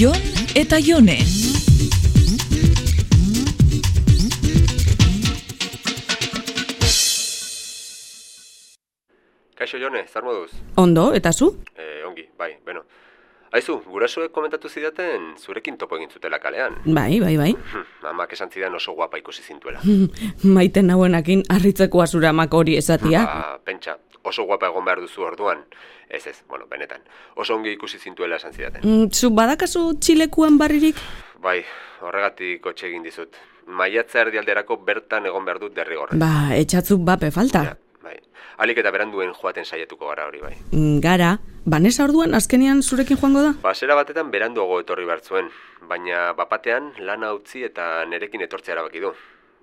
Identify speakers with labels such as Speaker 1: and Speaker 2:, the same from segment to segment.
Speaker 1: Jon eta Jone.
Speaker 2: Kaixo Jone, zer moduz?
Speaker 3: Ondo, eta zu?
Speaker 2: E, ongi, bai, beno. Aizu, gurasoek komentatu zidaten zurekin topo egin zutela kalean.
Speaker 3: Bai, bai, bai.
Speaker 2: Hm, Amak esan zidan oso guapa ikusi zintuela.
Speaker 3: Maite nauenakin harritzeko azura amak hori esatia.
Speaker 2: Ba, pentsa, oso guapa egon behar duzu orduan. Ez ez, bueno, benetan. Oso ongi ikusi zintuela esan zidaten.
Speaker 3: Mm, Zu badakazu txilekuan barririk?
Speaker 2: Bai, horregatik kotxe egin dizut. Maiatza erdialderako bertan egon behar dut derrigorrez.
Speaker 3: Ba, etxatzu bape falta.
Speaker 2: Bai. Alik eta beranduen joaten saiatuko gara hori bai.
Speaker 3: Mm, Gara, banesa orduan azkenean zurekin joango da?
Speaker 2: Basera batetan beranduago etorri behar zuen, baina bapatean lana utzi eta nerekin etortzea erabaki du.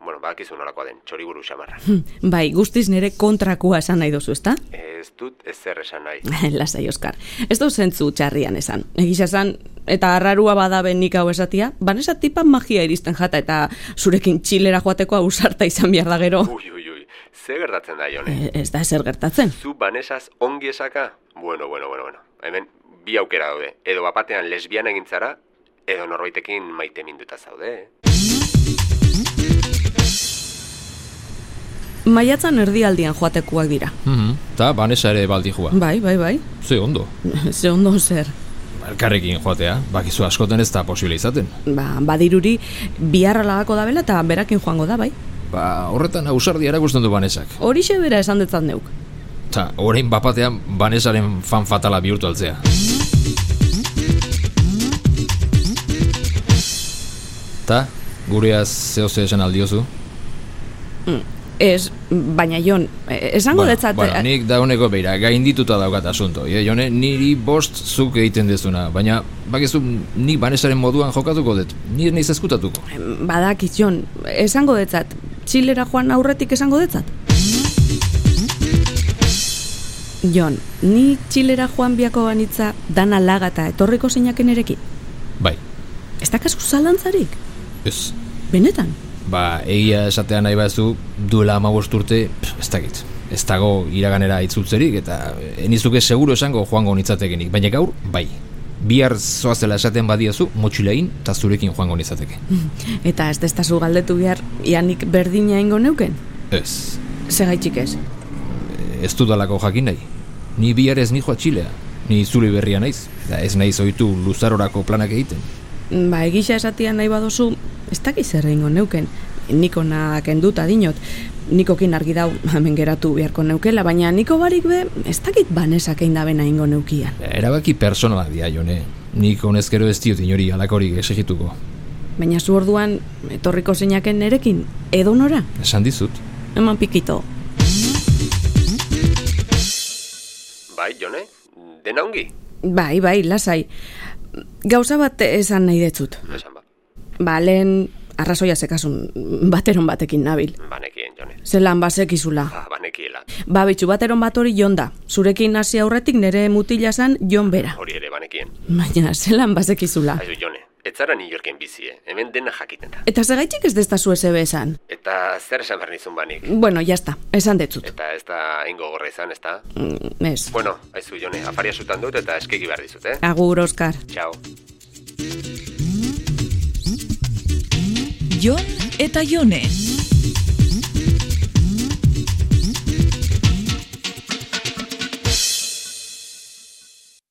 Speaker 2: Bueno, badakizu nolakoa den, txoriburu xamarra.
Speaker 3: Hm, Bai, guztiz nire kontrakua esan nahi duzu, ezta?
Speaker 2: Ez dut ezer esan nahi.
Speaker 3: Lasai, Oskar. Ez da zentzu txarrian esan. Egisa esan, eta arrarua bada benik hau esatia, banesa tipan magia iristen jata eta zurekin txilera joatekoa usarta izan behar da gero.
Speaker 2: Ui, ui, ui, ze gertatzen da, Jone?
Speaker 3: Eh, Ez da ezer gertatzen.
Speaker 2: Zu banesaz ongi esaka? Bueno, bueno, bueno, bueno. Hemen, bi aukera daude. Edo bapatean lesbiana egintzara, edo norbaitekin maite minduta zaude. eh?
Speaker 3: Maiatzan erdialdian joatekuak dira.
Speaker 4: Mhm, Eta Vanessa ere baldi joa.
Speaker 3: Bai, bai, bai.
Speaker 4: Ze ondo.
Speaker 3: Ze ondo zer.
Speaker 4: Elkarrekin joatea, bakizu askoten ez da posible izaten.
Speaker 3: Ba, badiruri biharra lagako da bela eta berakin joango da, bai.
Speaker 4: Ba, horretan ausardi erakusten du Vanesak.
Speaker 3: Horixe bera esan detzat neuk.
Speaker 4: Ta, orain bapatean Vanessaren fan fatala bihurtu altzea. Ta, gureaz zehoz esan aldiozu?
Speaker 3: Ez, baina jon, e- esango detzat...
Speaker 4: bueno, nik dauneko beira, gaindituta daukat asunto. E, jone, niri bost zuk egiten dezuna, baina bakizu nik Vanessaren moduan jokatuko dut. Ni ez naiz ezkutatuko.
Speaker 3: Badakit, jon, esango detzat. Txilera joan aurretik esango detzat. Jon, ni txilera joan biako banitza dana lagata etorriko zeinaken erekin.
Speaker 4: Bai,
Speaker 3: Ez dakazu zalantzarik,
Speaker 4: ez,
Speaker 3: benetan.
Speaker 4: Ba, egia esatea nahi bazu duela amabost urte, pff, ez dakit. Ez dago iraganera itzultzerik eta enizuke seguro esango joango nitzatekenik, baina gaur, bai. Bihar zoazela esaten badiezu, motxilein eta zurekin joango nitzateke.
Speaker 3: Eta ez destazu galdetu behar, ianik berdina ingo neuken?
Speaker 4: Ez,
Speaker 3: Segaitxik ez.
Speaker 4: ez dudalako jakin nahi. Ni bihar ez nijoa Txilea, ni itzuli berria naiz, eta ez naiz ohitu luzarorako planak egiten.
Speaker 3: Ba, egisa esatia nahi badozu, ez dakiz zer ingo neuken. Niko na kenduta dinot, nikokin argi dau hemen geratu beharko neukela, baina niko barik be, ez dakit banesak eindabena ingo neukian.
Speaker 4: Erabaki personala dia, jone. Nik honezkero ez diot inori alakorik exigituko.
Speaker 3: Baina zu orduan, etorriko zeinaken nerekin, edo nora?
Speaker 4: Esan dizut.
Speaker 3: Eman pikito.
Speaker 2: Bai, Jone? Dena ongi?
Speaker 3: Bai, bai, lasai. Gauza bat esan nahi detzut.
Speaker 2: Esan ba.
Speaker 3: Ba, lehen arrazoia zekasun bateron batekin nabil.
Speaker 2: Banekien, Jone.
Speaker 3: Zelan bazekizula.
Speaker 2: Ba, banekiela.
Speaker 3: Ba, bitxu bateron bat hori jon da. Zurekin hasi aurretik nire mutila zan jon bera.
Speaker 2: Hori ere banekien.
Speaker 3: Baina, zelan bazekizula.
Speaker 2: Aizu, Jone, ez zara New Yorken bizi, eh? hemen dena jakiten da.
Speaker 3: Eta segaitik ez destazu SB esan.
Speaker 2: Eta zer esan behar nizun banik?
Speaker 3: Bueno, jazta, esan detzut.
Speaker 2: Eta ez da ingo gorra izan, ez da?
Speaker 3: Mm, Ez.
Speaker 2: Bueno, aizu, Jone, afaria zutan dut eta eskegi behar dizut, eh?
Speaker 3: Agur, Oskar.
Speaker 2: Txau.
Speaker 1: Jon eta Jone.